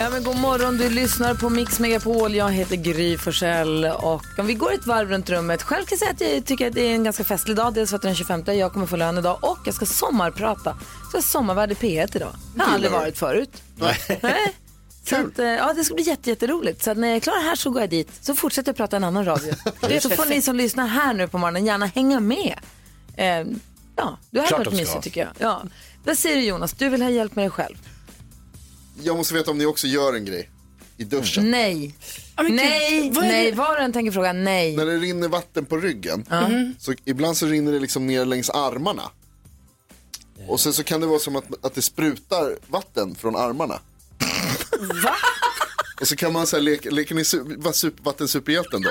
Ja, men god morgon, du lyssnar på Mix Megapol. Jag heter Gry Forssell. Och om vi går ett varv runt rummet. Själv kan jag säga att jag tycker att det är en ganska festlig dag. Dels för att det är den 25. Jag kommer få lön idag och jag ska sommarprata. Så jag sommarvärd i P1 idag. Det har aldrig varit förut. Nej. Nej. Så att, eh, ja, det ska bli jätte- jätteroligt. Så att när jag är klar här så går jag dit. Så fortsätter jag prata i en annan radio. så får ni som lyssnar här nu på morgonen gärna hänga med. Eh, ja, du hade Klart varit de ska. mysigt tycker jag. Ja. Vad säger du Jonas? Du vill ha hjälp med dig själv? Jag måste veta om ni också gör en grej i duschen. Nej. men nej, gud, vad är nej. det? Var och en tänker fråga nej. När det rinner vatten på ryggen, så ibland så rinner det liksom ner längs armarna. Och sen så kan det vara som att, att det sprutar vatten från armarna. Va? Och så kan man så här, leka, leker ni su- va- sup- vattensuperhjälten då?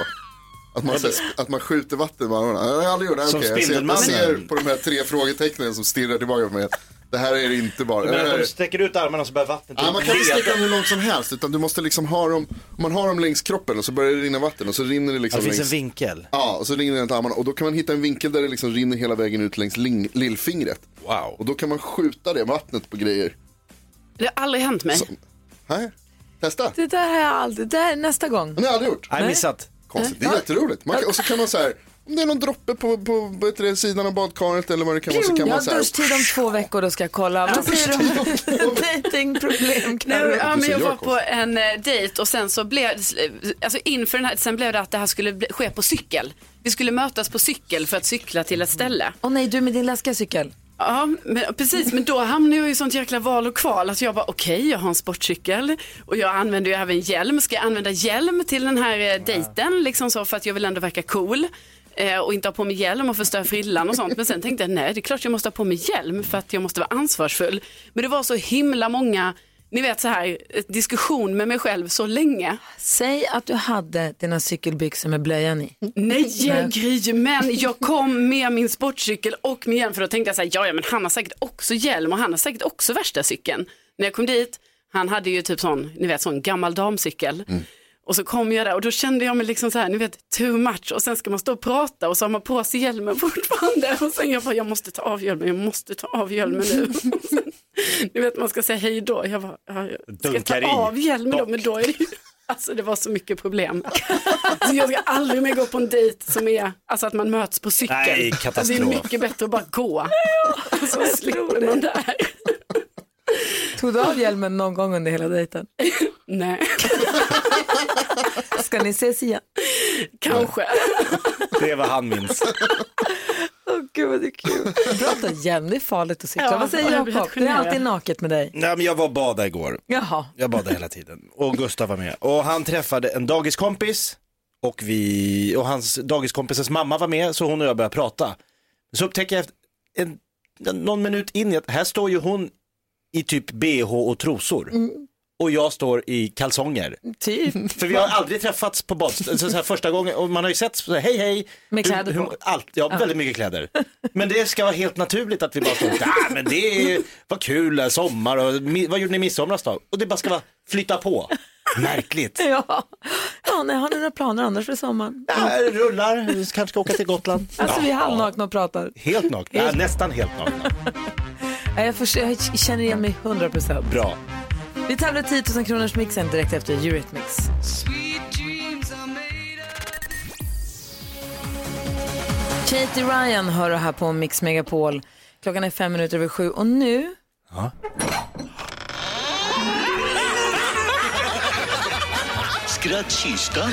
Att man, så här, sp- att man skjuter vatten med armarna? Nej, Jag har aldrig gjort det. Som Okej, jag ser, man Spindelmannen. ser på de här tre frågetecknen som stirrar tillbaka på mig. Det här är det inte bara. Du Det här menar att är- de sträcker ut armarna så börjar vattnet Ja, man kan inte sticka dem hur långt som helst utan du måste liksom ha dem, om man har dem längs kroppen och så börjar det rinna vatten och så rinner det Ja, liksom Det finns en längs, vinkel. ja, och så rinner det runt armarna och då kan man hitta en vinkel där det liksom rinner hela vägen ut längs ling, lillfingret. Wow. Och då kan man skjuta det vattnet på grejer. Det har aldrig hänt mig. Här, testa. Det där har jag aldrig, det där nästa gång. Det har ni aldrig gjort. Nej, missat. Konstigt, det är jätteroligt. Man kan, och så kan man så här, om det är någon droppe på, på, på, på sidan av badkaret eller vad det kan vara så kan Jag man har så här. duschtid om två veckor, då ska jag kolla. Vad säger du om datingproblem Nej, men- ja, Du men ser jag var Jakob. på en eh, dejt och sen så blev alltså inför den här, sen blev det att det här skulle bli, ske på cykel. Vi skulle mötas på cykel för att cykla till ett ställe. Åh nej, du med din läskiga cykel. Ja, men, precis. Men då hamnade jag i sånt jäkla val och kval. Att jag bara, okej, jag har en sportcykel och jag använder ju även hjälm. Ska jag använda hjälm till den här eh, dejten liksom så för att jag vill ändå verka cool? eh, och inte ha på mig hjälm och förstöra frillan och sånt. Men sen tänkte jag, nej det är klart jag måste ha på mig hjälm för att jag måste vara ansvarsfull. Men det var så himla många, ni vet så här, eh, diskussion med mig själv så länge. Säg att du hade dina cykelbyxor med blöjan i. Nej, Gry, men jag kom med min sportcykel och min hjälm för då tänkte jag så här, ja, ja, men han har säkert också hjälm och han har säkert också värsta cykeln. När jag kom dit, han hade ju typ sån, ni vet, sån gammal damcykel. Och så kom jag där och då kände jag mig liksom så här, ni vet, too much och sen ska man stå och prata och så har man på sig hjälmen fortfarande och sen jag bara, jag måste ta av hjälmen, jag måste ta av hjälmen nu. Och sen, ni vet, man ska säga hej då, jag bara, ja, jag ska Dunkar i. ta av hjälmen då, men då är det ju, alltså det var så mycket problem. Så jag ska aldrig mer gå på en dejt som är, alltså att man möts på cykel. Alltså, Nej, katastrof. Det är mycket bättre att bara gå. Så slipper man det här. Tog du av hjälmen någon gång under hela dejten? Nej, Ska ni ses igen? kanske. Det är vad han minns. Åh gud vad det är kul. Prata hjälm, det är farligt att cykla. Ja, vad säger jag blir Jakob? helt Det är generad. alltid naket med dig. Nej, men jag var och badade igår. Jaha. Jag badade hela tiden. Och Gustav var med. Och han träffade en dagiskompis. Och, vi, och hans dagiskompisens mamma var med, så hon och jag började prata. Så upptäcker jag efter en, någon minut in i att här står ju hon i typ bh och trosor. Och jag står i kalsonger. Typ. För vi har aldrig träffats på badstranden, så så här första gången, och man har ju sett så här, hej hej. Med kläder på. allt, ja, väldigt mycket kläder. Men det ska vara helt naturligt att vi bara står, ah, men det är, vad kul, eh, sommar och mi- vad gjorde ni i midsomras då? Och det bara ska vara, flytta på. Märkligt. Ja. ja nej, har ni några planer annars för sommaren? Ja, det rullar, vi kanske ska åka till Gotland. Alltså vi är Ja, halvnakna och pratar. Helt nakna, ja, nästan helt nakna. Ja, Jag, förs- jag känner igen mig 100 procent. Bra. Vi tävlar 10 000 kronors mixen direkt efter Eurythmics. Katie Ryan hör du här på Mix Megapol. Klockan är fem minuter över sju och nu... Skrattkistan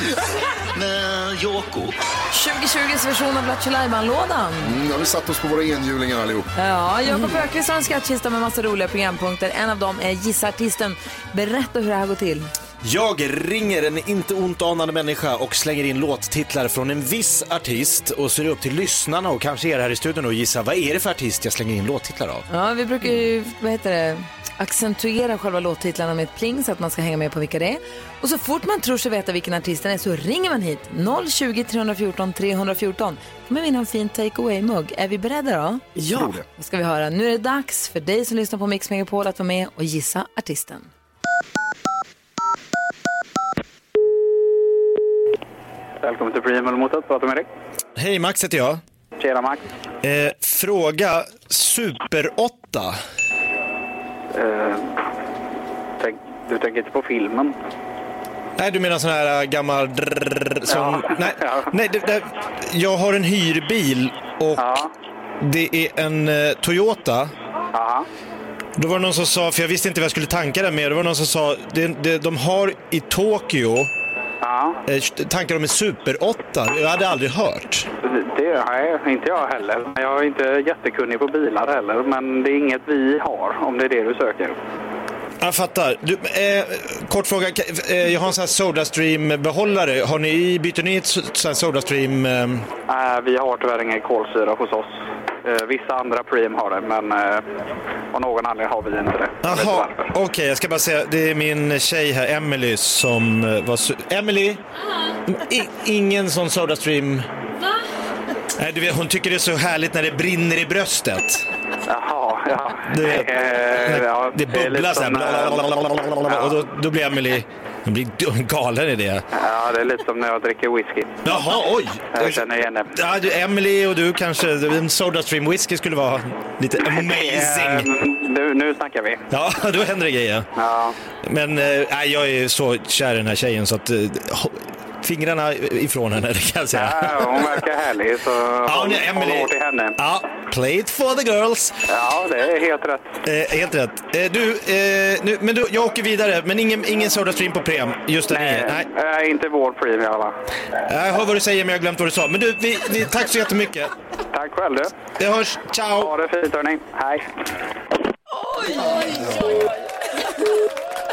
med Jakob. 2020s version av Lattjo Lajban-lådan. Mm, ja, vi satt oss på våra enhjulingar allihop. Ja, Jakob Öqvist har en skattkista med massa roliga programpunkter. En av dem är Gissa Artisten. Berätta hur det här går till. Jag ringer en inte ont anande människa och slänger in låttitlar från en viss artist och så är det upp till lyssnarna och kanske er här i studion att gissa vad är det för artist jag slänger in låttitlar av. Ja, vi brukar ju, vad heter det, accentuera själva låttitlarna med ett pling så att man ska hänga med på vilka det är. Och så fort man tror sig veta vilken artist den är så ringer man hit. 020 314 314. Kan man vinna en fin takeaway-mugg. Är vi beredda då? Ja. Vad ska vi höra? Nu är det dags för dig som lyssnar på Mix Megapol att vara med och gissa artisten. Välkommen till Premium Motet, prata med Erik. Hej, Max heter jag. Tjena Max. Eh, fråga Super 8. Eh, tänk, du tänker inte på filmen? Nej, du menar sån här äh, gammal... drrrr som, Ja. Nej, Ja. nej det, det, jag har en hyrbil och Ja. det är en eh, Toyota. Ja. Då var det någon som sa, för jag visste inte vad jag skulle tanka den med, det var någon som sa, det, det, de har i Tokyo, Ja. eh, tankar de en Super 8. Jag hade aldrig hört. Det, nej, inte jag heller. Jag är inte jättekunnig på bilar heller, men det är inget vi har om det är det du söker. Jag fattar. Du, eh, kort fråga, ka- eh, jag har en sån här Sodastream-behållare. Har ni, byter ni ett så- sån här Sodastream? Eh, Nej, vi har tyvärr ingen kolsyra hos oss. Eh, vissa andra Preem har det, men eh, av någon anledning har vi inte det. Jag vet inte Jaha, varför. okej jag ska bara säga, det är min tjej här, Emily som eh, var... su- Emily, I, ingen sån Sodastream... Nej, du vet, hon tycker det är så härligt när det brinner i bröstet. Jaha, ja. Det, Eh, ja, det är lite bubblar så här. som, eh, blablabla, Och då, då blir Emily hon blir d- galen i det. Ja, det är lite som när jag dricker whisky. Jaha, oj! Jag känner igen det. Ja, du, Emily och du kanske, en Sodastream whisky skulle vara lite amazing. Eh, nu, nu snackar vi. Ja, då händer det grejer. Ja, Men eh, nej, jag är så kär i den här tjejen så att eh, ho- fingrarna ifrån henne kan jag säga. ja, hon verkar härlig så Ja, håll nu, Emily. håll hårt i henne. Ja, play it for the girls. Ja, det är helt rätt. Eh, helt rätt. Eh, du, eh, nu, men du, jag åker vidare. Men ingen, ingen Sodastream på Prem. Just det, nej. nej. Eh, inte vår premie i alla fall. Jag hör vad du säger men jag har glömt vad du sa. Men du, vi, vi, tack så jättemycket. Tack själv du. Vi hörs. Ciao. Ha det fint hörni. Hej.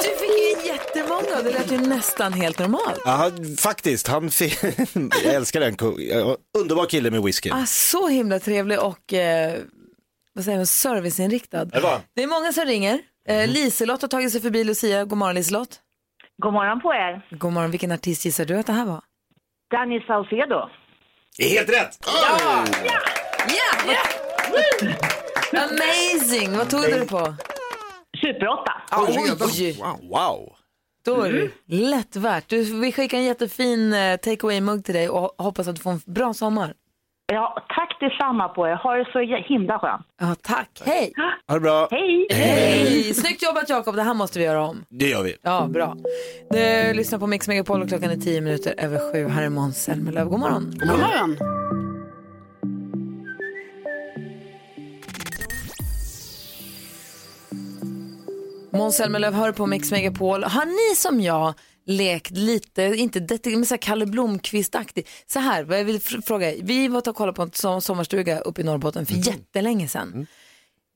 Du fick ju jättemånga det lät ju nästan helt normalt. Ja, faktiskt. Han jag älskar den. Underbar kille med whisky. Ah, så himla trevlig och eh, vad säger man, serviceinriktad. Det var han. Det är många som ringer. Eh, Liselott har tagit sig förbi Lucia. God morgon Liselott. God morgon på er. God morgon. Vilken artist gissar du att det här var? Danny Saucedo. Helt rätt. Ja! Amazing! Vad tog du det på? Super 8. Oj, Wow. då är det lätt värt. Du, vi skickar en jättefin eh, take away-mugg till dig och ho- hoppas att du får en bra sommar. Ja, tack detsamma på er. Ha det så jä- himla skönt. Ja, tack. Hej! Ha det bra. Hej! Hej! Snyggt jobbat Jakob, det här måste vi göra om. Det gör vi. Ja, bra. Du lyssnar på Mix Megapol och klockan är tio minuter över sju. Här är Måns Zelmerlöw. God morgon. God morgon. Måns Zelmerlöw hör på Mix Megapol. Har ni som jag lekt lite, inte detektiv, men så här Kalle Blomkvist-aktig? Så här, vad jag vill fr- fråga, er. vi var och kollade på en som- sommarstuga uppe i Norrbotten för jättelänge sedan.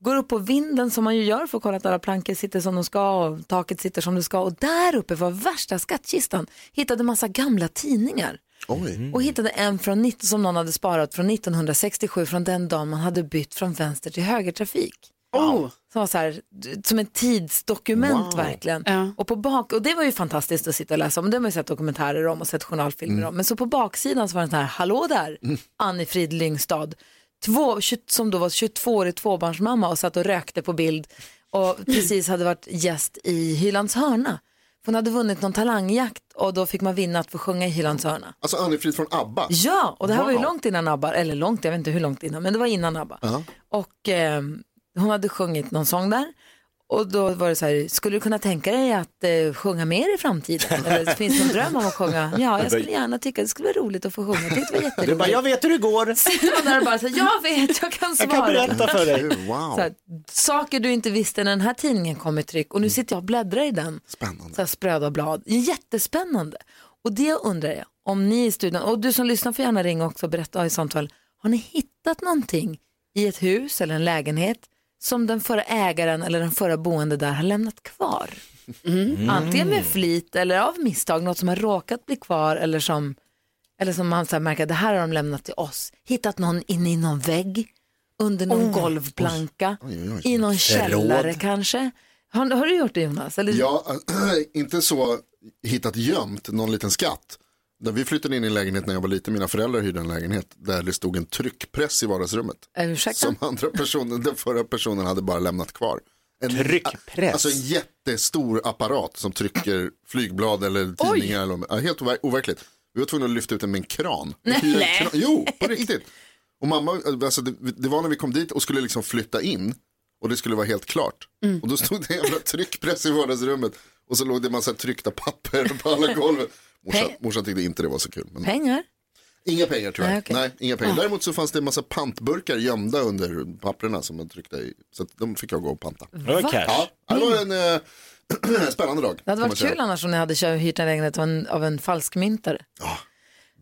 Går upp på vinden som man ju gör för att kolla att alla plankor sitter som de ska och taket sitter som det ska. Och där uppe var värsta skattkistan. Hittade massa gamla tidningar. Oj. Och hittade en från 19, som någon hade sparat från 1967 från den dagen man hade bytt från vänster till högertrafik. Oh. Som var så här, d- som ett tidsdokument verkligen. Ja. Och, på bak, och det var ju fantastiskt att sitta och läsa om. Det har man ju sett dokumentärer om och sett journalfilmer om. Men så på baksidan så var det så här, hallå där, Anni-Frid Lyngstad. Två, tjugo- som då var 22-årig tvåbarnsmamma och satt och rökte på bild. Och precis hade varit gäst i Hylands hörna. För Hon hade vunnit någon talangjakt och då fick man vinna att få sjunga i Hylands hörna. Alltså Anne-Frid från ABBA. Ja, och det här var ju Wow. långt innan ABBA, eller långt, jag vet inte hur långt innan, men det var innan ABBA. Och eh, hon hade sjungit någon sång där. Och då var det så här, skulle du kunna tänka dig att eh, sjunga mer i framtiden? Eller finns det en dröm om att sjunga? Ja, jag skulle gärna tycka det skulle vara roligt att få sjunga. Jag tyckte det var Du bara, jätteroligt. jag vet hur det går. Sitter man där och bara så här, jag vet, jag kan Jag svara. kan berätta för dig. Gud, Wow. Så här, saker du inte visste när den här tidningen kom i tryck och nu sitter jag och bläddrar i den. Mm. Spännande. Så här spröda blad. Jättespännande. Och det undrar jag, om ni i studion, och du som lyssnar får gärna ringa också och berätta i samtal. Har ni hittat någonting i ett hus eller en lägenhet som den förra ägaren eller den förra boende där har lämnat kvar? Mm. Antingen med flit eller av misstag, något som har råkat bli kvar eller som, eller som man så här märker att det här har de lämnat till oss. Hittat någon inne i någon vägg, under någon Oh. golvplanka, i någon källare kanske. Har, har du gjort det Jonas? Eller, Ja, inte så hittat gömt någon liten skatt. När vi flyttade in i en lägenhet när jag var liten, mina föräldrar hyrde en lägenhet där det stod en tryckpress i vardagsrummet. Eh, ursäkta? Som andra personen, den förra personen hade bara lämnat kvar. En, Tryckpress? Alltså en jättestor apparat som trycker flygblad eller tidningar. Eller, ja, helt overk- overkligt. Vi var tvungna att lyfta ut den med en kran. Nej. kran. Jo, på riktigt. Och mamma, alltså, det, det var när vi kom dit och skulle liksom flytta in och det skulle vara helt klart. Mm. Och då stod det en jävla tryckpress i vardagsrummet och så låg det en massa tryckta papper på alla golven. Morsan, Peng- morsan tyckte inte det var så kul. Men... Pengar? Inga pengar tyvärr. Nej, Nej, okej. Ah. inga pengar. Däremot så fanns det en massa pantburkar gömda under papperna som man tryckte i. Så att de fick jag gå och panta. Det var cash. Ja, det var en eh, spännande dag. Det hade kan man varit säga. kul annars om ni hade kört, hyrt en lägenhet av en, av en falskmyntare.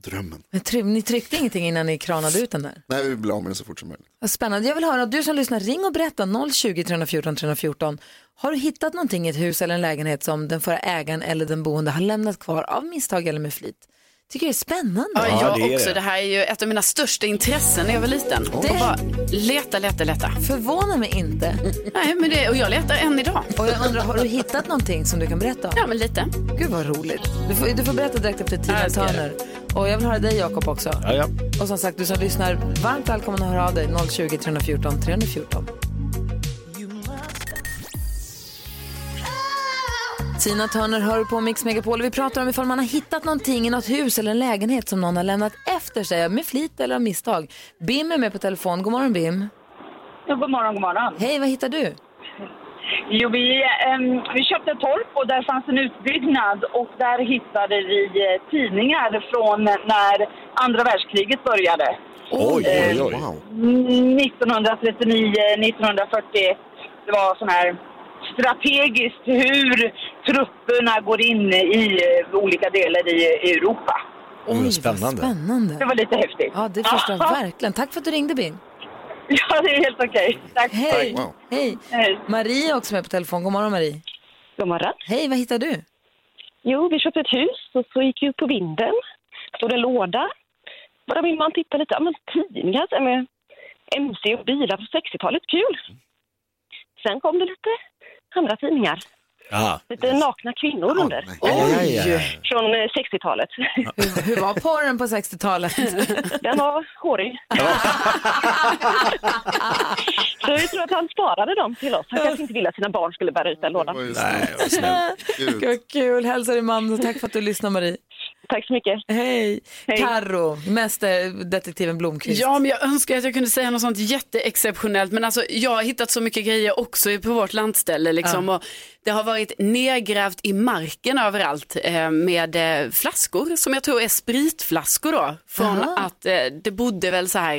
Drömmen. Men try- ni tryckte ingenting innan ni kranade ut den där? Nej, vi blir av med den så fort som möjligt. Vad spännande. Jag vill höra, du som lyssnar, ring och berätta 020 314 314. Har du hittat någonting i ett hus eller en lägenhet som den förra ägaren eller den boende har lämnat kvar av misstag eller med flit? Tycker det är spännande. Ja, jag det är också. det. Det här är ju ett av mina största intressen när jag var liten. Och bara leta, leta, leta. Förvånar mig inte. Nej, men det, och jag letar än idag. Och jag undrar, har du hittat någonting som du kan berätta om? Ja, men lite. Gud vad roligt. Du får, du får berätta direkt efter Tina Ja, jag ska göra Turner. Och jag vill höra dig Jakob också. Ja, ja. Och som sagt, du som lyssnar, varmt välkommen att höra av dig 020 314 314. Tina Turner hör på Mix Megapol och vi pratar om ifall man har hittat någonting i något hus eller en lägenhet som någon har lämnat efter sig med flit eller av misstag. Bim är med på telefon. God morgon Bim. Ja, god morgon, god morgon. Hej, vad hittar du? Jo, vi, ehm, vi köpte ett torp och där fanns en utbyggnad och där hittade vi eh, tidningar från när andra världskriget började. Oj, oj, oj. Wow. Mm, 1939, 1940. Det var sån här strategiskt hur trupperna går in i eh, olika delar i i Europa. Oj, vad Vad spännande. Det spännande. var lite häftigt. Ja, det förstår jag verkligen. Tack för att du ringde Bim. Ja, det är helt okej. Tack. Hej! Tack, wow. Hej! Hej. Marie är också med på telefon. God morgon Marie. God morgon. Hej, vad hittar du? Jo, vi köpte ett hus och så gick vi upp på vinden. Stod en låda. Bara min man tittade lite. Ja, men tidningar så här med mc och bilar på 60-talet. Kul! Sen kom det lite andra tidningar. Ja. Lite nakna kvinnor under. Oj. Oj. Från eh, 60-talet. Hur, hur var porren på 60-talet? Den var hårig. så vi tror att han sparade dem till oss. Han kanske inte ville att sina barn skulle bära ut den Det var lådan. ju Nej, snällt. vad snällt. Gud. Vad kul! Hälsa din man och tack för att du lyssnar Marie. Tack så mycket. Hej! Hej. Carro, mästerdetektiven Blomqvist. Ja, men jag önskar att jag kunde säga något sånt jätteexceptionellt. Men alltså, jag har hittat så mycket grejer också i- på vårt landställe. Liksom, och det har varit nedgrävt i marken överallt eh, med eh, flaskor som jag tror är spritflaskor då. Från att eh, det bodde väl så här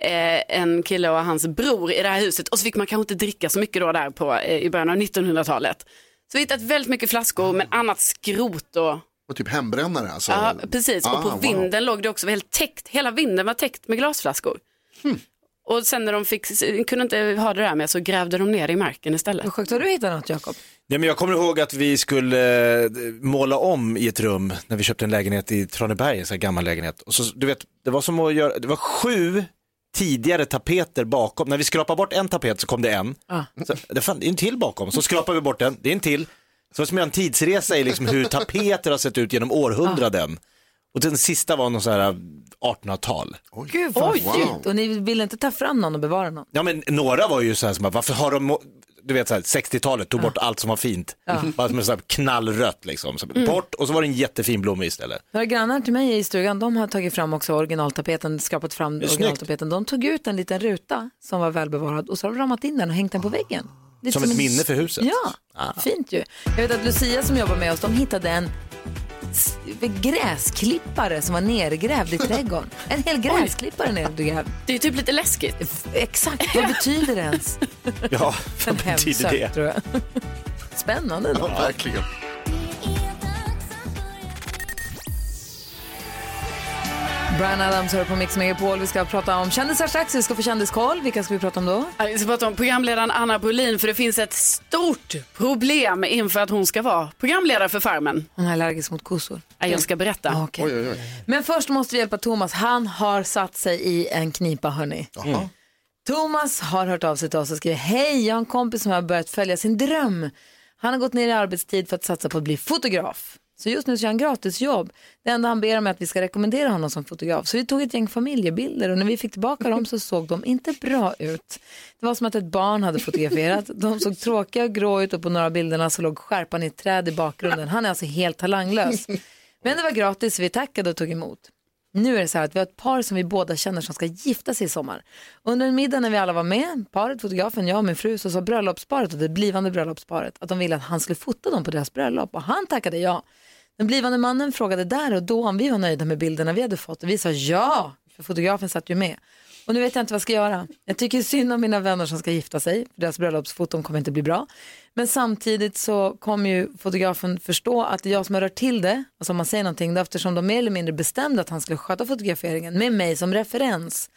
eh, en kille och hans bror i det här huset. Och så fick man kanske inte dricka så mycket då där på, eh, i början av 1900-talet. Så vi har hittat väldigt mycket flaskor men annat skrot och Och typ hembrännare alltså. Ja, precis. Ah, och på wow. vinden låg det också helt täckt. Hela vinden var täckt med glasflaskor. Hmm. Och sen när de fick, kunde inte ha det där med så grävde de ner i marken istället. Vad sjukt, har du hittat något Jakob? Nej, men jag kommer ihåg att vi skulle eh, måla om i ett rum när vi köpte en lägenhet i Traneberg, en sån här gammal lägenhet. Och så, du vet, det var som att göra, det var sju tidigare tapeter bakom. När vi skrapade bort en tapet så kom det en. Så, det fanns en till bakom, så skrapade vi bort den, det är en till. Så det var som att göra en tidsresa i liksom hur tapeter har sett ut genom århundraden. Och den sista var någon sån här 1800-tal. Gud vad Oj. fint! Och ni ville inte ta fram någon och bevara någon? Ja men några var ju så här som bara, varför har de, du vet så här, 60-talet tog bort allt som var fint. Mm. Bara som en sån här knallrött liksom. Så Mm. Bort och så var det en jättefin blomma istället. Några grannar till mig i stugan, de har tagit fram också originaltapeten, skrapat fram är snyggt. originaltapeten. De tog ut en liten ruta som var välbevarad och så har de ramat in den och hängt den på väggen. Lite Ah. Som ett en- minne för huset. Ah. Ja, fint ju. Jag vet att Lucia som jobbar med oss, de hittade en s- gräsklippare som var nergrävd i trädgården. En hel gräsklippare nergrävd. Det är typ lite läskigt. F- Exakt, vad betyder det ens? Ja, En vad betyder det? tror jag. Spännande Ja, då. verkligen. Brian Adams hör på Mix Megapol. Vi ska prata om kändisar strax. Vi ska få kändiskoll. Vilka ska vi prata om då? Ja, Vi ska prata om programledaren Anna Brolin för det finns ett stort problem inför att hon ska vara programledare för Farmen. Hon är allergisk mot kossor. Ah, Ja, Jag ska berätta. Okej. Oj, oj, oj. Men först måste vi hjälpa Thomas. Han har satt sig i en knipa, hörni. Jaha. Thomas har hört av sig till oss och skriver Hej, jag har en kompis som har börjat följa sin dröm. Han har gått ner i arbetstid för att satsa på att bli fotograf. Så just nu så gör han gratisjobb. Det enda han ber om är att vi ska rekommendera honom som fotograf. Så vi tog ett gäng familjebilder och när vi fick tillbaka dem så såg de inte bra ut. Det var som att ett barn hade fotograferat. De såg tråkiga och grå ut och på några av bilderna så låg skärpan i ett träd i bakgrunden. Han är alltså helt talanglös. Men det var gratis, så vi tackade och tog emot. Nu är det så här att vi har ett par som vi båda känner som ska gifta sig i sommar. Under en middag när vi alla var med, paret, fotografen, jag och min fru, så sa bröllopsparet och det blivande bröllopsparet att de ville att han skulle fota dem på deras bröllop och han tackade ja. Den blivande mannen frågade där och då om vi var nöjda med bilderna vi hade fått och vi sa ja, för fotografen satt ju med. Och nu vet jag inte vad jag ska göra. Jag tycker synd om mina vänner som ska gifta sig, för deras bröllopsfoton kommer inte bli bra. Men samtidigt så kommer ju fotografen förstå att det är jag som har rört till det, alltså om man säger någonting, då eftersom de mer eller mindre bestämde att han skulle sköta fotograferingen med mig som referens.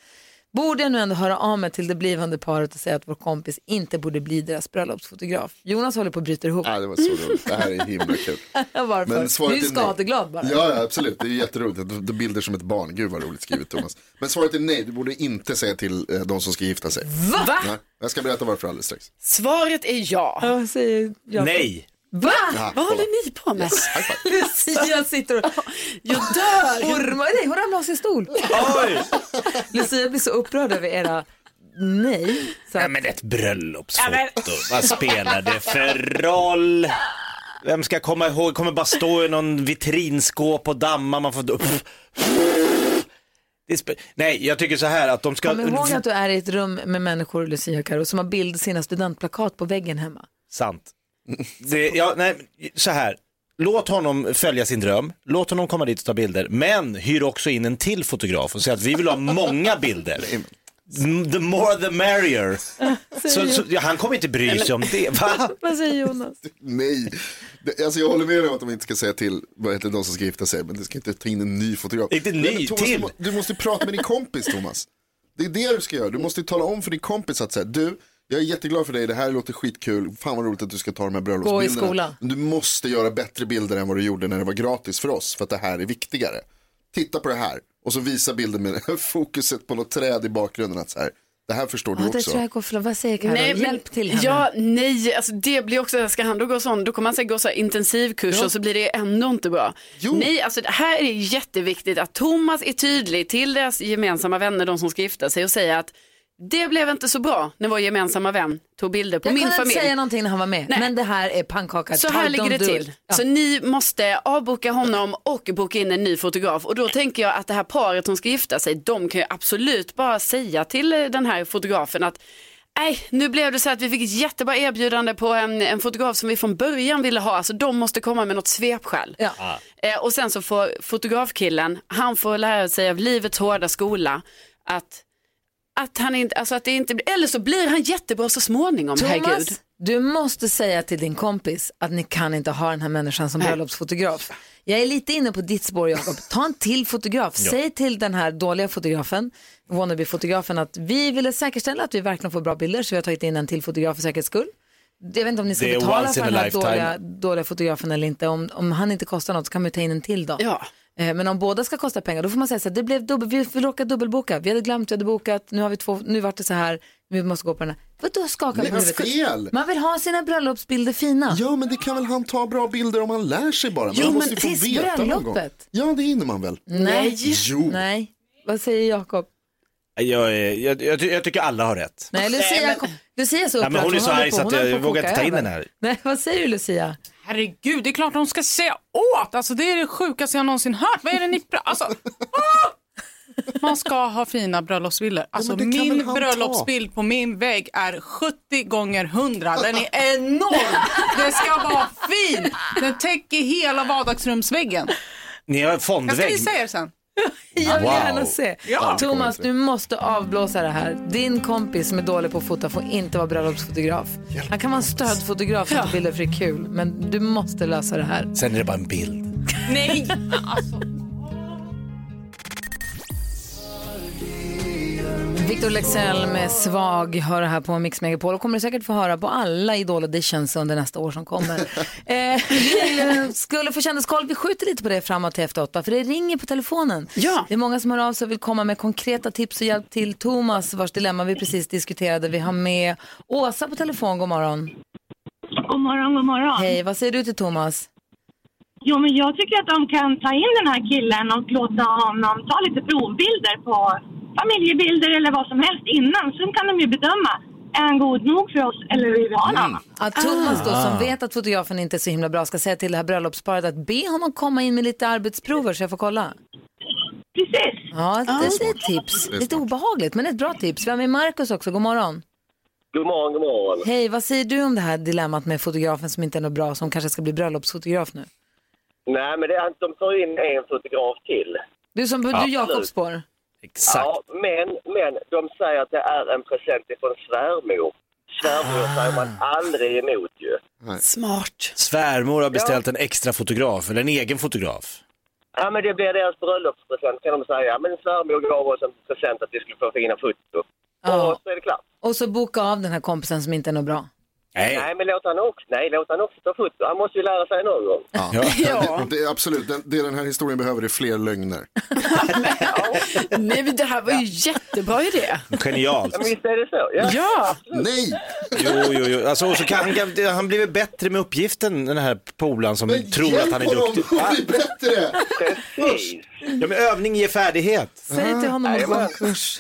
Borde jag nu ändå höra av mig till det blivande paret och säga att vår kompis inte borde bli deras bröllopsfotograf? Jonas håller på att bryta ihop. Nej, det var så roligt. Det här är himla kul. Varför? Men svaret Du är är nej. skadeglad bara. Ja, ja, absolut. Det är jätteroligt. De- de Bilder som ett barn. Gud vad roligt skrivet Thomas. Men svaret är nej. Du borde inte säga till eh, de som ska gifta sig. Va? Nej, jag ska berätta varför alldeles strax. Svaret är ja. Ja, vad säger jag? Nej. Va? Ja, Vad håller ni på med? high five. Lucia sitter och Jag dör! ormar. Nej, hon ramlade av sin stol. Oj! Lucia Alltså, blir så upprörd över era nej. Så Nej att, men ett bröllopsfoto, vad spelar det för roll? Vem ska komma ihåg, kommer bara stå i någon vitrinskåp och damma, man får... Pff, pff. Det är spe- Nej, jag tycker så här att de ska... kom ihåg att du är i ett rum med människor, Lucia Karo, som har bild sina studentplakat på väggen hemma. Sant. Det, ja, nej, men så här. Låt honom följa sin dröm, låt honom komma dit och ta bilder, men hyr också in en till fotograf och säg att vi vill ha många bilder. Mm, The more the merrier. Så, så, ja, han kommer inte bry sig om det, va? Vad säger Jonas? Nej, det, alltså jag håller med dig om att de inte ska säga till vad heter de som ska gifta sig, men du ska inte ta in en ny fotograf. Inte ny, Nej, men Thomas, till. Du, må- du måste prata med din kompis Thomas. Det är det du ska göra, du måste tala om för din kompis att säga, du, jag är jätteglad för dig, det här låter skitkul, fan vad roligt att du ska ta de här bröllopsbilderna. skola. Men Du måste göra bättre bilder än vad du gjorde när det var gratis för oss, för att det här är viktigare. Titta på det här, och så visa bilden med fokuset på något träd i bakgrunden, att så här, det här förstår du Ja, det också. tror jag går för Vad säger Karo? men- Hjälp till henne. Ja, nej, alltså det blir också, ska han då gå sån, då kommer han säkert gå så här intensivkurs och så blir det ändå inte bra. Jo. Nej, alltså det här är det jätteviktigt att Thomas är tydlig till deras gemensamma vänner, de som ska gifta sig och säga att det blev inte så bra när vår gemensamma vän tog bilder på jag min kunde familj. inte säga någonting när han var med, men det här är pannkaka. Så här Don't ligger det do till. it. Ja. Så ni måste avboka honom och boka in en ny fotograf. Och då tänker jag att det här paret som ska gifta sig, de kan ju absolut bara säga till eh, den här fotografen att Nej, nu blev det så att vi fick ett jättebra erbjudande på en, en fotograf som vi från början ville ha. Alltså de måste komma med något svepskäl. Ja. Eh, och sen så får fotografkillen, han får lära sig av livets hårda skola att, att han inte, alltså att det inte blir, eller så blir han jättebra så småningom, herregud. Thomas, du måste säga till din kompis att ni kan inte ha den här människan som bröllopsfotograf. Jag är lite inne på ditt spår Jakob. Ta en till fotograf. Säg till den här dåliga fotografen, wannabe-fotografen att vi ville säkerställa att vi verkligen får bra bilder så vi har tagit in en till fotograf för säkerhets skull. Jag vet inte om ni ska Det är betala once för in den a här lifetime. dåliga, dåliga fotografen eller inte. Om, om han inte kostar något så kan man ju ta in en till då. Ja. Eh, Men om båda ska kosta pengar, då får man säga så här, det blev dubbel, vi, vi råkade dubbelboka, vi hade glömt, vi hade bokat, nu har vi två, nu vart det så här, vi måste gå på den här. Vadå skaka Nej, på vad huvudet? fel! Man vill ha sina bröllopsbilder fina. Ja, men det kan väl han ta bra bilder om han lär sig bara. Men Jo, han men måste ju få tills veta någon gång. bröllopet. Ja, det hinner man väl? Nej. Jo. Nej. Vad säger Jakob? Jag, är- jag, jag, ty- jag tycker alla har rätt. Nej, Lucia, kom- Lucia är så Nej, upprörd. men hon är så håller arg på- så att hon håller jag på vågar koka inte ta in över. den här. Nej, vad säger du Lucia? Herregud, det är klart de ska säga åt. Alltså det är det sjukaste jag någonsin hört. Vad är det ni pra- alltså, ah! Man ska ha fina bröllopsbilder. Alltså men det kan väl min han bröllopsbild på min vägg är 70 gånger 100. Den är enorm. Den ska vara fin. Den täcker hela vardagsrumsväggen. Ni har en Jag ska fondvägg. visa er sen. Jag vill Wow. gärna se. Ja. Thomas, du måste avblåsa det här. Din kompis som är dålig på att fota får inte vara bröllopsfotograf. Han kan vara en stödfotograf som tar bilder för det är kul, men du måste lösa det här. Sen är det bara en bild. Nej, alltså. Victor Lexell med Svag hör här på Mix Megapol och kommer säkert få höra på alla Idol Auditions under nästa år som kommer. eh, vi eh, skulle få kändiskoll, vi skjuter lite på det framåt till efter åtta för det ringer på telefonen. Ja. Det är många som hör av sig och vill komma med konkreta tips och hjälp till Thomas vars dilemma vi precis diskuterade. Vi har med Åsa på telefon, god morgon. God morgon, god morgon. Hej, vad säger du till Thomas? Jo, men jag tycker att de kan ta in den här killen och låta honom ta lite provbilder på familjebilder eller vad som helst innan. Sen kan de ju bedöma, är han god nog för oss eller vill vi ha en annan? Att Thomas då Ah. som vet att fotografen inte är så himla bra ska säga till det här bröllopsparet att be honom komma in med lite arbetsprover så jag får kolla. Precis. Ja, det Ja. är ett tips. Det är Lite smart. obehagligt men ett bra tips. Vi har med Markus också, god morgon. God morgon, god morgon. Hej, vad säger du om det här dilemmat med fotografen som inte är något bra som kanske ska bli bröllopsfotograf nu? Nej, men det, är- de tar in en fotograf till. Du som du Absolut. Jakobs spår. Ja, men, men de säger att det är en present ifrån svärmor. Svärmor säger man aldrig emot ju. Smart. Svärmor har beställt en extra fotograf, eller en egen fotograf. Ja, men det blir deras bröllopspresent kan de säga. Ja, Men svärmor gav oss en present att vi skulle få fina foto. Ja. Och så är det klart. Och så boka av den här kompisen som inte är något bra. Nej. men låt han också, nej, låt han också ta foto. Han måste ju lära sig någon gång. Det, det, är absolut, det, det den här historien behöver är fler lögner. Nej, men det här var ju jättebra idé. Genialt. Ja, men visst är det så? Ja. Nej! Jo, jo, jo. Alltså, och så kan, han, kan- han blir väl bättre med uppgiften, den här polaren som tror att han är duktig. Ja. bättre! Ja, men övning ger färdighet. Säg till honom att gå en kurs.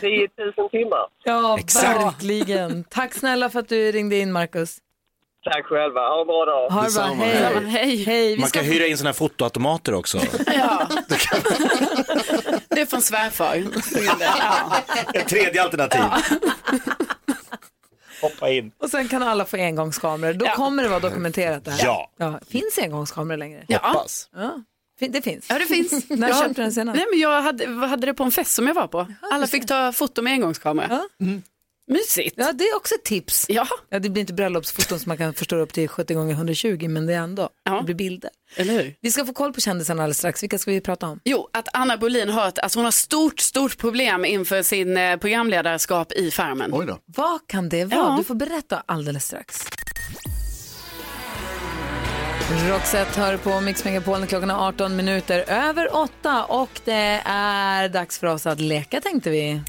10 000 timmar. Ja, Exakt. verkligen. Tack snälla för att du ringde in, Markus. Tack själva, ha en bra dag. Ha det bra, Detsamma. hej. hej. hej. Vi Man ska... kan hyra in sådana här fotoautomater också. Det är från svärfar. Ett tredje alternativ. Hoppa in. Och sen kan alla få engångskameror. Då kommer det vara dokumenterat det här. Ja. Finns engångskameror längre? Ja. Hoppas. Ja. Fin- Det finns. Ja, det finns. När jag, köpte du den senast? Nej, men jag hade, hade det på en fest som jag var på. Alla fick ta foto med engångskamera. Mm. Mysigt. Ja, det är också ett tips. Ja. det blir inte bröllopsfoton som man kan förstöra upp till 70 gånger 120 men det är ändå, det blir bilder. Eller hur? Vi ska få koll på kändisarna alldeles strax. Vilka ska vi prata om? Jo, att Anna Bolin har ett, alltså hon har stort, stort problem inför sin eh, programledarskap i Farmen. Oj då. Vad kan det vara? Ja. Du får berätta alldeles strax. Roxette hör på Mix Megapolen klockan är 18 minuter över 8 och det är dags för oss att leka tänkte vi.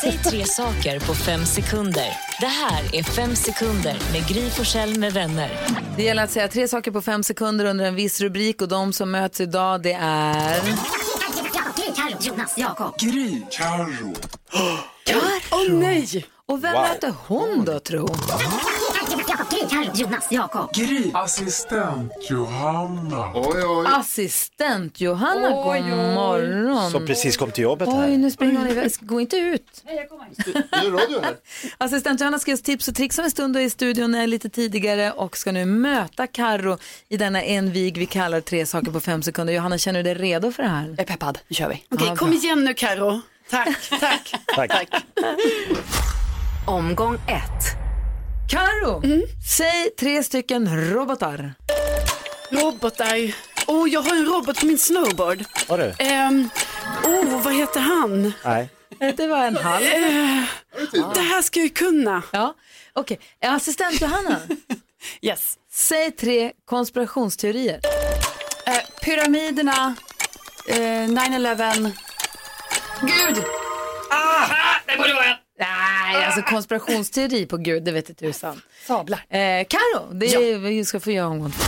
Säg tre saker på fem sekunder. Det här är Fem sekunder med Gry Forssell med vänner. Det gäller att säga tre saker på fem sekunder under en viss rubrik och de som möts idag det är... Gry, Carro, Jonas, Jakob. Gry. Carro. Åh nej! Och vem Wow. möter hon då tro? Gry, Carro, Jonas, Jakob. Gry. Assistent Johanna. Oj, oj. Assistent Johanna, Oj, god oj. morgon. Som precis kom till jobbet här. Oj, nu springer hon iväg. Gå inte ut. Assistent Johanna ska ge oss tips och tricks om en stund och är i studion är lite tidigare och ska nu möta Karo i denna envig vi kallar tre saker på fem sekunder. Johanna, känner du dig redo för det här? Jag är peppad, nu kör vi. Okej, Okej, kom igen nu Karo. Tack, tack. Tack. Omgång ett. Karo, Mm. säg tre stycken robotar. Robotar. Oh, jag har en robot på min snowboard. Har du? Ehm, oh, vad heter han? Nej. Det var en halv. Eh, det här ska jag ju kunna. Ja, okej. Assistent Johanna. yes. Säg tre konspirationsteorier. Eh, pyramiderna, eh, 9-11. Gud! Ah, det borde vara Nej, alltså konspirationsteori på Gud, det vet inte tusan. Sablar. Eh, Karo, det är, vi ska få göra omgång två.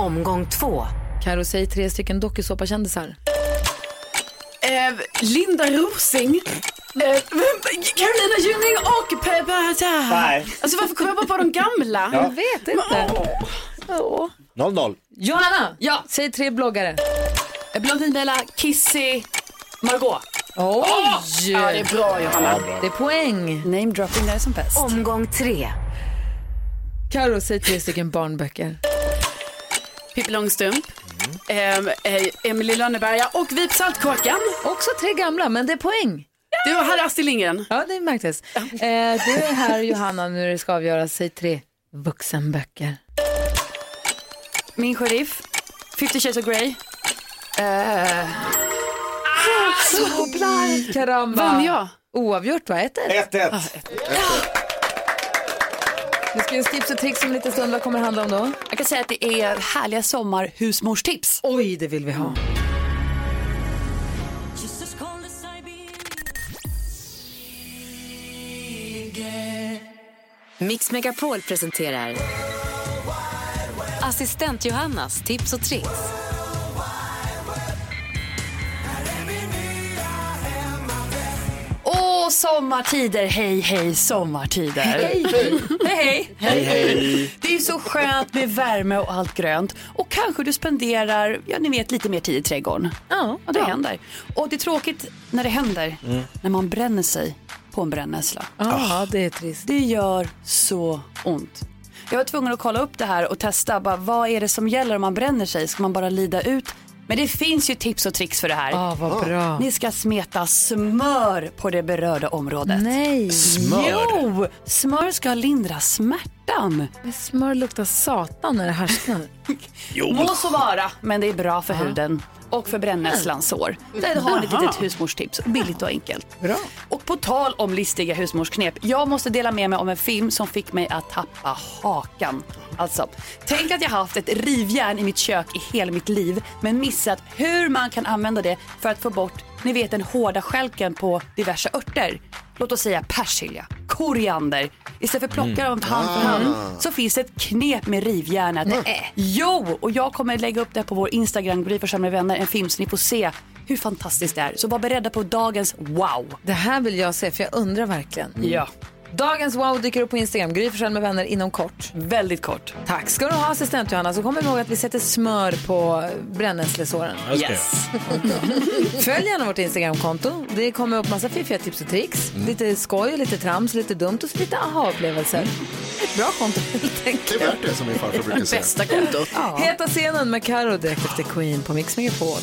Omgång två. Karo, säg tre stycken dokusåpakändisar. Eh, Linda Rosing. Eh, vänta, Carolina Gynning och Peppa Nej. Alltså varför kommer jag bara på de gamla? Ja. Jag vet inte. 0-0. Johanna, ja. säg tre bloggare. Blondinbella, Eh, Kissy, Margot. Oj! Ja, det är bra, Johanna. Ja, bra. Det är poäng. Name dropping där är som bäst. Omgång tre. Karo, säg tre stycken barnböcker. Pippi Långstrump. Mm. ehm, eh, Emily i Lönneberga och Vip Saltkåkan. Också tre gamla, men det är poäng. Du, här är Astrid Lindgren. Ja, det märktes. Eh, du är här, Johanna, nu det ska avgöras. Säg tre vuxenböcker. Min sheriff, 50 shades of Grey. Eh, Så blank! Karamba. Vann jag? Oavgjort va? 1-1. 1-1. Ja, Nu ska vi tips och tricks om en liten stund. Vad kommer det handla om då? Jag kan säga att det är härliga sommarhusmorstips. Oj, det vill vi ha. Mix Megapol presenterar Assistent Johannas tips och tricks. Åh, sommartider, hej hej sommartider. Hej hej. hej Hej, hej. Det är ju så skönt med värme och allt grönt. Och kanske du spenderar, ja ni vet lite mer tid i trädgården. Ja, det händer. Och det är tråkigt när det händer, när man bränner sig på en brännässla. Ja, det är trist. Det gör så ont. Jag var tvungen att kolla upp det här och testa, bara, vad är det som gäller om man bränner sig? Ska man bara lida ut? Men det finns ju tips och tricks för det här. Ah, vad bra. Ni ska smeta smör på det berörda området. Nej. Smör? Jo, smör ska lindra smärtan. Men smör luktar satan när det härsknar. Må så vara, men det är bra för huden och för brännässlans sår. Där har ni ett Jaha. litet husmorstips, billigt och enkelt. Och på tal om listiga husmorsknep, jag måste dela med mig om en film som fick mig att tappa hakan. Alltså, tänk att jag haft ett rivjärn i mitt kök i hela mitt liv men missat hur man kan använda det för att få bort, ni vet den hårda skälken på diverse örter. Låt oss säga persilja, koriander. Istället för att plocka Mm. dem hand för hand Ah. så finns det ett knep med rivjärnet. Nej. Jo! Och jag kommer lägga upp det här på vår Instagram, Gry Forssell med vänner, en film så ni får se hur fantastiskt det är. Så var beredda på dagens wow. Det här vill jag se, för jag undrar verkligen. Mm. Ja. Dagens wow dyker upp på Instagram. Gry Forssell med vänner inom kort. Väldigt kort. Tack ska du ha assistent Johanna. Så kom ihåg att vi sätter smör på brännässlesåren. Ja, det ska jag Yes. Följ gärna vårt Instagramkonto. Det kommer upp massa fiffiga tips och tricks. Lite skoj, lite trams, lite dumt och så lite aha-upplevelser. Ett bra konto helt Det är enkelt. värt det som min farfar brukar säga. kontot. Heta scenen med Karo direkt efter Queen på Mix Megapol.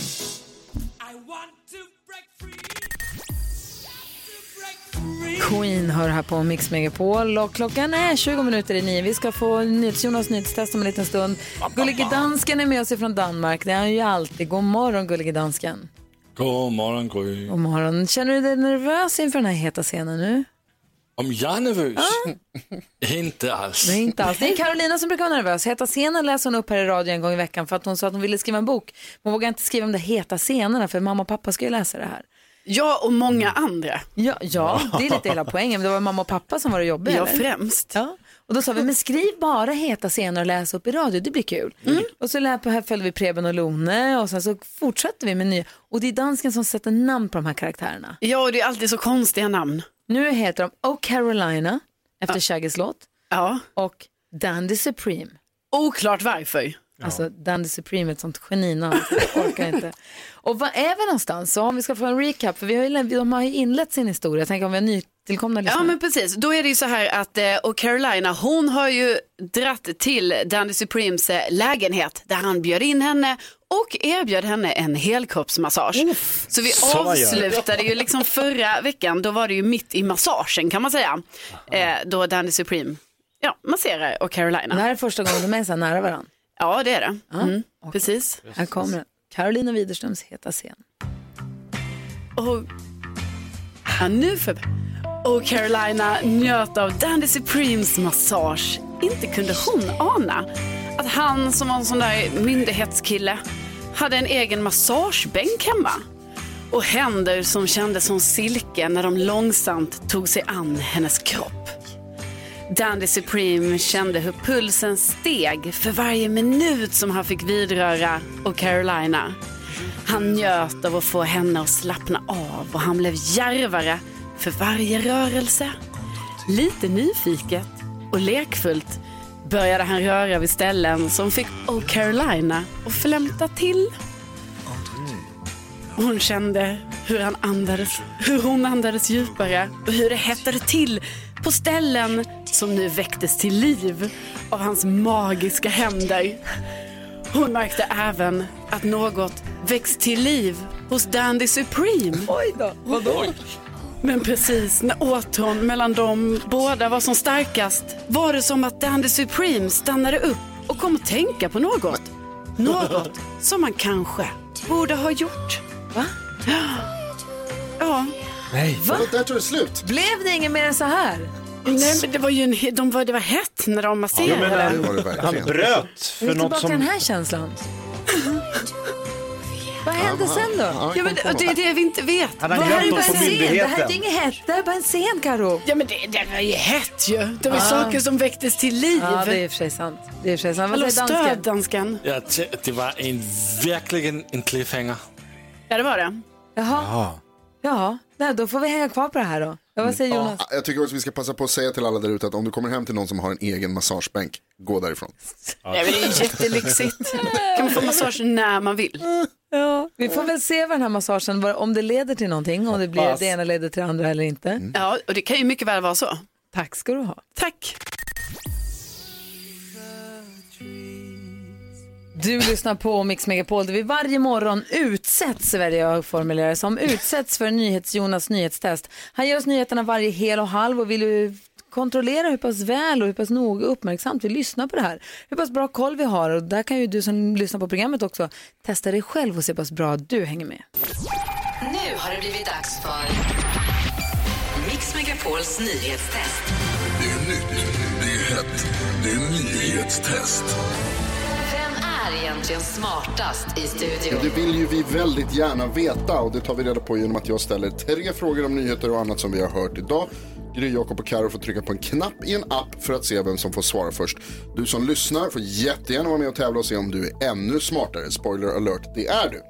Queen hör här på Mix Megapol och klockan är 20 minuter i nio. Vi ska få NyhetsJonas nyhetstest om en liten stund. Gullige dansken är med oss ifrån Danmark. Det är han ju alltid. God morgon Gullige dansken. God morgon Gry. God morgon. Känner du dig nervös inför den här heta scenen nu? Om jag är nervös? Inte alls. Nej, inte alls. Det är Carolina som brukar vara nervös. Heta scenen läser hon upp här i radio en gång i veckan för att hon sa att hon ville skriva en bok. Men hon vågar inte skriva om de heta scenerna för mamma och pappa ska ju läsa det här. Ja, och många andra. Ja, ja det är lite hela poängen. Men det var mamma och pappa som var det jobbiga. Ja, eller? främst. Ja. Och då sa vi, men skriv bara heta scener och läs upp i radio, det blir kul. Mm. Och så lät, här följde vi Preben och Lone och sen så fortsatte vi med nya. Och det är dansken som sätter namn på de här karaktärerna. Ja, och det är alltid så konstiga namn. Nu heter de Oh Carolina, efter Shaggys låt. Och Dandy Supreme. Oklart varför. Alltså Dandy Supreme är ett sånt geninamn, så jag orkar inte. Och vad är vi någonstans? Så om vi ska få en recap, för vi har ju, de har ju inlett sin historia. Jag tänker om vi har nytillkomna Ja lyssnare. men precis, då är det ju så här att eh, och Carolina hon har ju dratt till Danny Supremes eh, lägenhet där han bjöd in henne och erbjöd henne en helkroppsmassage. så vi som man gör. avslutade ju liksom förra veckan, då var det ju mitt i massagen kan man säga, eh, då Danny Supreme ja, masserar och Carolina. Det här är första gången de är så här nära varandra. Ja det är det, Ah, mm, precis. Här kommer den. Carolina Widerströms heta scen. Och, ja, nu för... och Carolina njöt av Dandy Supremes massage. Inte kunde hon ana att han som var en sån där myndighetskille hade en egen massagebänk hemma. Och händer som kändes som silke när de långsamt tog sig an hennes kropp. Dandy Supreme kände hur pulsen steg för varje minut som han fick vidröra och Carolina. Han njöt av att få henne att slappna av och han blev djärvare för varje rörelse. Lite nyfiket och lekfullt började han röra vid ställen som fick Oh Carolina att flämta till. Hon kände hur, han andades, hur hon andades djupare och hur det hettade till på ställen som nu väcktes till liv av hans magiska händer. Hon märkte även att något växt till liv hos Dandy Supreme. Oj då, vadå? Men precis när åtrån mellan dem båda var som starkast var det som att Dandy Supreme stannade upp och kom att tänka på något. Något som man kanske borde ha gjort. Va? Ja. Nej. Va? Där tog det slut. Blev det inget mer än så här? Nej, men det var ju en, he- de var, det var hett när de Ja, men masserade. han- Det var det verkligen. han bröt för Vi är något tillbaka som- till den här känslan. Vad hände Ja, sen ja, då? jag Ja, men kom på det- det är vi inte vet. Han har glömt är oss en scen. på Det här myndigheten. är inget hett. Det här är bara en scen, Karo. Ja, men det, var ju hett ju. Det var ju Ja. saker som väcktes till liv. Ja, det är i och för sig sant. Det är i och för sig sant. Vad Hallå, säger dansken? stöd dansken. Ja, t- det var en, verkligen en cliffhanger. Ja, det var det. Jaha, ja. Nej, då får vi hänga kvar på det här då. Ja, vad säger Jonas? Ja, Jag tycker också vi ska passa på att säga till alla där ute att om du kommer hem till någon som har en egen massagebänk, gå därifrån. Nej, men det är jättelyxigt. kan man få massage när man vill. Ja, vi får väl se vad den här massagen, vad- om det leder till någonting, om det blir Hoppas. Mm. det ena leder till det andra eller inte. Ja, och det kan ju mycket väl vara så. Tack ska du ha. Tack. Du lyssnar på Mix Megapol där vi varje morgon utsätts, väljer jag att formulera det som, utsätts för NyhetsJonas nyhetstest. Han ger oss nyheterna varje hel och halv och vill ju kontrollera hur pass väl och hur pass noga och uppmärksamt vi lyssnar på det här. Hur pass bra koll vi har och där kan ju du som lyssnar på programmet också testa dig själv och se hur pass bra du hänger med. Nu har det blivit dags för Mix Megapols nyhetstest. Det är nytt, det är hett, det är nyhetstest. Vem är egentligen smartast i Ja, studion? det vill ju vi väldigt gärna veta och det tar vi reda på genom att jag ställer tre frågor om nyheter och annat som vi har hört idag. Gry, Jakob och Karo får trycka på en knapp i en app för att se vem som får svara först. Du som lyssnar får jättegärna vara med och tävla och se om du är ännu smartare. Spoiler alert, det är du.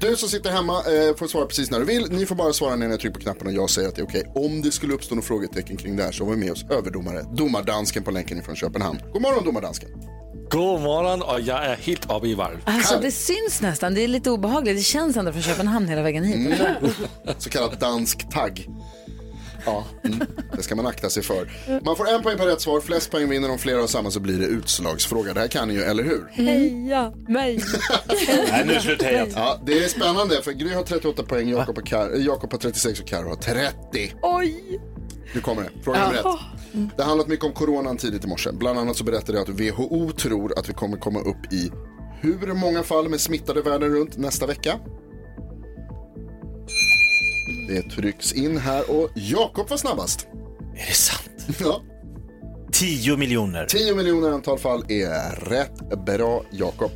Du som sitter hemma eh, får svara precis när du vill. Ni får bara svara när ni trycker på knappen och jag säger att det är okej. Om det skulle uppstå några frågetecken kring det här så har vi med oss överdomare, domardansken på länken ifrån Köpenhamn. God morgon domardansken! God morgon och jag är helt uppe i varv. Alltså det syns nästan, det är lite obehagligt, det känns ända från Köpenhamn hela vägen hit. Så kallad dansk tagg. Ja, mm, det ska man akta sig för. Man får en poäng per rätt svar, flest poäng vinner, om flera har samma så blir det utslagsfråga. Det här kan ni ju, eller hur? Heja mig! Nej, nu är det slut alltså. hejat. Ja, det är spännande, för Gry har 38 poäng, Jakob, och Kar- eh, Jakob har 36 och Karo har 30. Oj! Nu kommer det, fråga nummer ett. Det har handlat mycket om coronan tidigt i morse. Bland annat så berättade jag att WHO tror att vi kommer komma upp i hur många fall med smittade världen runt nästa vecka? Det trycks in här och Jakob var snabbast. Är det sant? Ja. 10 miljoner. 10 miljoner antal fall är rätt bra, Jakob.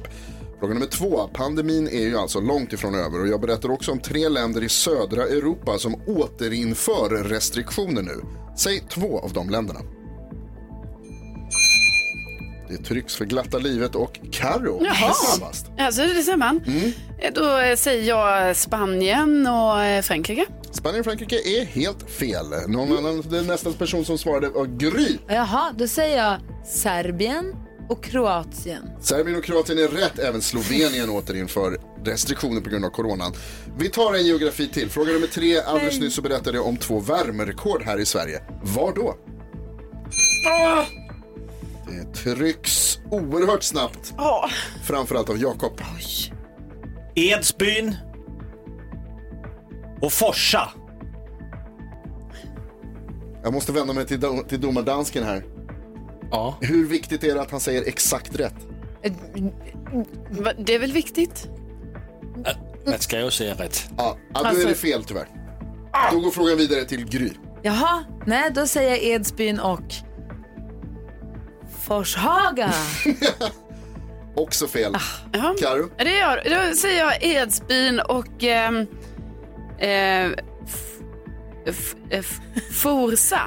Fråga nummer två. Pandemin är ju alltså långt ifrån över och jag berättar också om tre länder i södra Europa som återinför restriktioner nu. Säg två av de länderna. Det trycks för glatta livet och Carro är Jaha. snabbast. Alltså, det ser man. Eh, Då eh, säger jag Spanien och eh, Frankrike. Spanien och Frankrike är helt fel. Någon annan, det är nästan person som svarade var Gry. Jaha, då säger jag Serbien och Kroatien. Serbien och Kroatien är rätt, även Slovenien återinför restriktioner på grund av coronan. Vi tar en geografi till. Fråga nummer tre. Alldeles Nej. nyss så berättade jag om två värmerekord här i Sverige. Var då? Det trycks oerhört snabbt. Framförallt av Jakob. Edsbyn och Forsa. Jag måste vända mig till, do- till domardansken här. Ja. Hur viktigt är det att han säger exakt rätt? Va, Det är väl viktigt? Man ska ju säga rätt. Ja, ja då Alltså- är det fel tyvärr. Då går frågan vidare till Gry. Jaha, nej då säger jag Edsbyn och Forshaga. Också fel. Jaha. Karo? Ja, Det gör, då säger jag Edsbyn och ehm, eh, f, f, f, Forsa.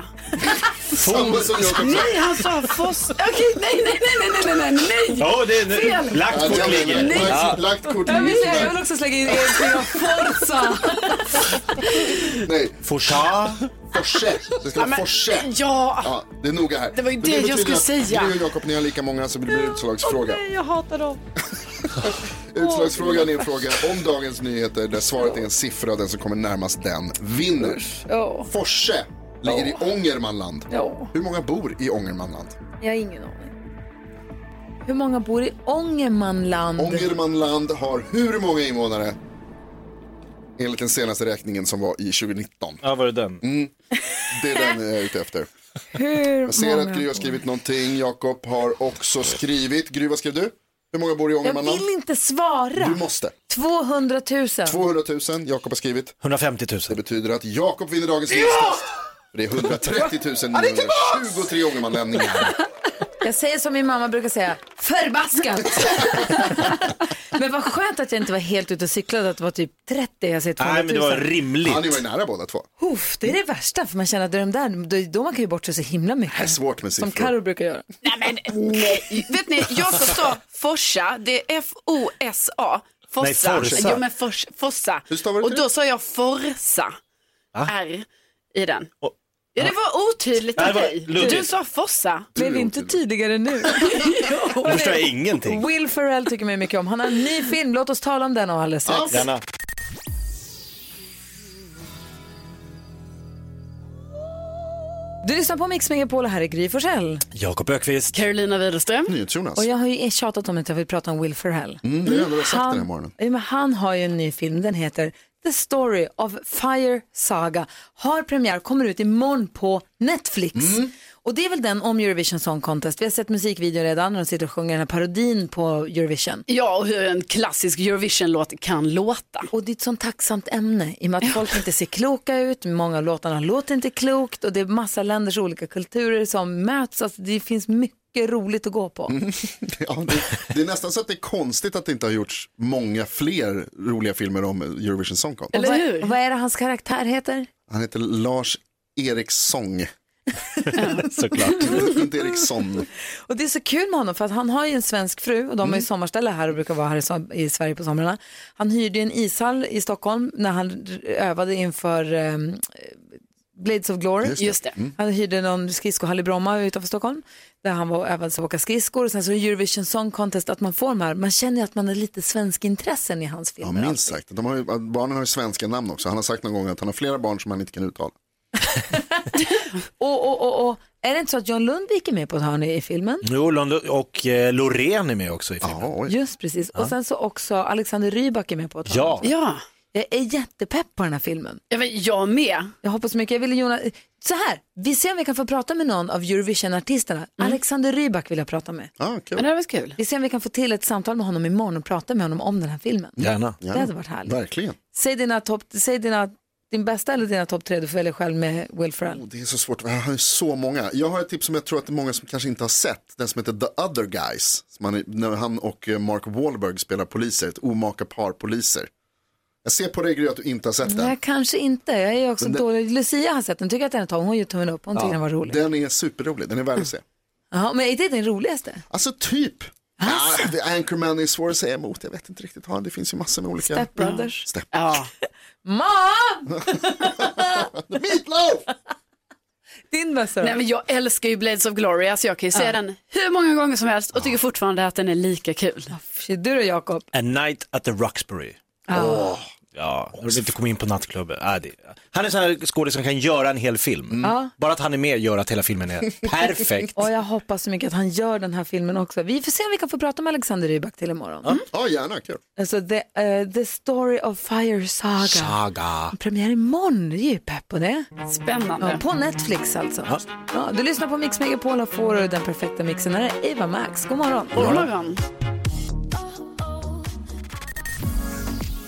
Samma som jag också. Nej, han sa Foss. Okej, nej, nej, nej, nej, nej, nej, nej. Ja, det är- Fel. lagt kort Ja, ligger. nej. Ja. typ Lagt kort Jag vill, jag vill ligger. också slänga in Edsbyn och Forza. Nej. Forsa. Forse. Det ska Ja, vara men- Forse. Ja. Ja, det är noga här. Det var ju Men det jag betyder skulle att säga. Gry och Jakob, ni har lika många så det blir utslagsfråga. nej, jag hatar dem. Utslagsfrågan är en fråga om dagens nyheter där svaret är en siffra och den som kommer närmast den vinner. Forse ligger i Ångermanland. Hur många bor i Ångermanland? Jag har ingen aning. Hur många bor i Ångermanland? Ångermanland har hur många invånare? Enligt den senaste räkningen som var i 2019. Ja, var det den? Mm. Det är den jag är ute efter. Hur Jag ser många? att Gry har skrivit någonting. Jakob har också skrivit. Gry, vad skrev du? Hur många bor i Jag Ångermanland? vill inte svara. Du måste. 200 000. 200 000, Jakob har skrivit. 150 000. Det betyder att Jakob vinner dagens Ja! livstest. För det är 130 Han är tillbaks! 923 Ångermanlänningar. Jag säger som min mamma brukar säga, förbaskat. men vad skönt att jag inte var helt ute och cyklade, att det var typ 30, jag säger 200 000. Ja, ni var ju nära båda två. Uff, det är det värsta, för man känner att det är de där, då, då man kan ju bort sig så himla mycket. Det är svårt med Som siffror. Karo brukar göra. Nej, men, nej. Vet ni, Jakob sa Forsa, det är F-O-S-A. Nej, Fossa. Forsa. Jo, men fors, Fossa. stavar du Och till då sa jag Forsa. Va? R i den. Ja, det var otydligt Nej, av det var dig. luddigt. Du sa Fossa. Blev inte tydligare nu. Nu förstår jag ingenting. Will Ferrell tycker mig mycket om. Han har en ny film, låt oss tala om den alldeles strax. Gärna. Du lyssnar på Mix Megapol och här är Gry Forssell. Jakob Ökvist. Carolina Widerström. NyhetsJonas. Och jag har ju tjatat om att jag vill prata om Will Ferrell. Mm, det har jag sagt den här morgonen. Ja, men han har ju en ny film, den heter The Story of Fire Saga. Har premiär, kommer ut imorgon på Netflix. Mm. Och det är väl den om Eurovision Song Contest. Vi har sett musikvideon redan när de sitter och sjunger den här parodin på Eurovision. Ja, och hur en klassisk Eurovision-låt kan låta. Och det är ett sånt tacksamt ämne i och med att folk inte ser kloka ut, många av låtarna låter inte klokt och det är massa länders olika kulturer som möts. Alltså, det finns mycket roligt att gå på. Mm. Ja, det, det är nästan så att det är konstigt att det inte har gjorts många fler roliga filmer om Eurovision Song Contest. och vad, vad är det hans karaktär heter? Han heter Lars Eriksson. Såklart. inte Eriksson. Och det är så kul med honom för att han har ju en svensk fru och de har ju sommarställe här och brukar vara här i som- i Sverige på somrarna. Han hyrde ju en ishall i Stockholm när han r- övade inför ehm, Blades of Glory. Just det. Just det. Mm. Han hyrde någon skridskohall i Bromma utanför Stockholm där han var och övade sig att åka skridskor. Och sen så Eurovision Song Contest, att man får de här, man känner ju att man har lite svensk intressen i hans Ja, filmer. minst sagt. De har ju, barnen har ju svenska namn också. Han har sagt någon gång att han har flera barn som han inte kan uttala. och, och, och, och är det inte så att John Lundvik är med på ett hörn i i filmen? Jo, Lund och eh, Loreen är med också i filmen. Just precis. Ja. Och sen så också Alexander Rybak är med på ett hörn. Ja. Ja. Jag är jättepepp på den här filmen. Ja, men jag med. Jag hoppas mycket. Jag vill Jonas... Så här, vi ser om vi kan få prata med någon av Eurovision-artisterna. Mm. Alexander Rybak vill jag prata med. Ah, kul. Men det här var kul. Vi ser om vi kan få till ett samtal med honom imorgon och prata med honom om den här filmen. Gärna. Det hade varit härligt. Verkligen. Säg, dina top... Säg dina... din bästa eller dina topp tre, du får välja själv med Will Ferrell. Och Det är så svårt, jag har ju så många. Jag har ett tips som jag tror att det är många som kanske inte har sett. Den som heter The Other Guys. Som han, när han och eh, Mark Wahlberg spelar poliser, ett omaka par poliser. Jag ser på dig Gry att du inte har sett den. Nej, kanske inte. Jag är också Men det- dålig. Lucia har sett den, tycker att den är tagen. Hon gör tummen upp, hon tycker den var rolig. Den är superrolig, den är värd att se. Jaha, men är det den roligaste? Alltså typ. Ah, The Anchorman är svår att säga emot, jag vet inte riktigt. Ja, Det finns ju massor med olika. Step Brothers. Step. Ja. Ma! Meatloaf! Din bästa Nej, men Jag älskar ju Blades of Glory, alltså jag kan ju se Ja. den hur många gånger som helst och tycker fortfarande att den är lika kul. Du då Jakob? A Night at the Roxbury. Ah. Ja, jag vill inte komma in på nattklubben. Ah, det... Han är sån här skådis som kan göra en hel film. Ja. Bara att han är med gör att hela filmen är perfekt. Och jag hoppas så mycket att han gör den här filmen också. Vi får se om vi kan få prata med Alexander Rybak till imorgon. Mm. Ja, gärna, kul. Alltså the, eh, the Story of Fire Saga. Saga. Premiär imorgon, det är ju pepp på det. Spännande. Ja, på Netflix alltså. Ja. du lyssnar på Mix Megapol och får den perfekta mixen. Här är Eva Max, god morgon. God morgon.